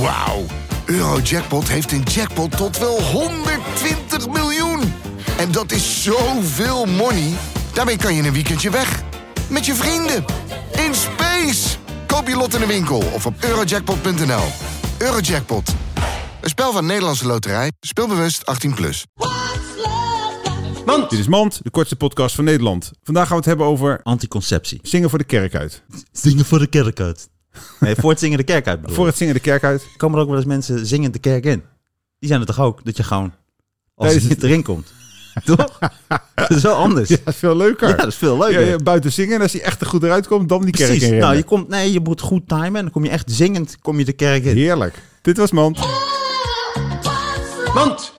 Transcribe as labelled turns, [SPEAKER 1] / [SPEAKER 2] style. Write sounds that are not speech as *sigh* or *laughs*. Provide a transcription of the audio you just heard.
[SPEAKER 1] Wauw. Eurojackpot heeft een jackpot tot wel 120 miljoen. En dat is zoveel money. Daarmee kan je in een weekendje weg. Met je vrienden. In space. Koop je lot in de winkel of op eurojackpot.nl. Eurojackpot. Een spel van Nederlandse Loterij. Speelbewust 18+. Plus.
[SPEAKER 2] Dit is Mand, de kortste podcast van Nederland. Vandaag gaan we het hebben over
[SPEAKER 3] Anticonceptie.
[SPEAKER 2] zingen voor de kerk uit.
[SPEAKER 3] Zingen voor de kerk uit. Nee, voor het zingen de kerk uit.
[SPEAKER 2] Voor het zingen de kerk uit.
[SPEAKER 3] komen er ook wel eens mensen zingend de kerk in. Die zijn er toch ook dat je gewoon als
[SPEAKER 2] Tijdens
[SPEAKER 3] je
[SPEAKER 2] het-
[SPEAKER 3] erin
[SPEAKER 2] *laughs*
[SPEAKER 3] komt. toch? Dat is wel anders. Ja,
[SPEAKER 2] Dat is veel leuker.
[SPEAKER 3] dat is veel
[SPEAKER 2] Ja,
[SPEAKER 3] leuker.
[SPEAKER 2] ja, buiten zingen en als hij echt er goed eruit komt, dan die kerk
[SPEAKER 3] Precies.
[SPEAKER 2] in. rennen.
[SPEAKER 3] Nou, je komt, nee, je moet goed timen en dan kom je echt zingend kom je de kerk in.
[SPEAKER 2] Heerlijk. Dit was Mand.
[SPEAKER 4] Mand.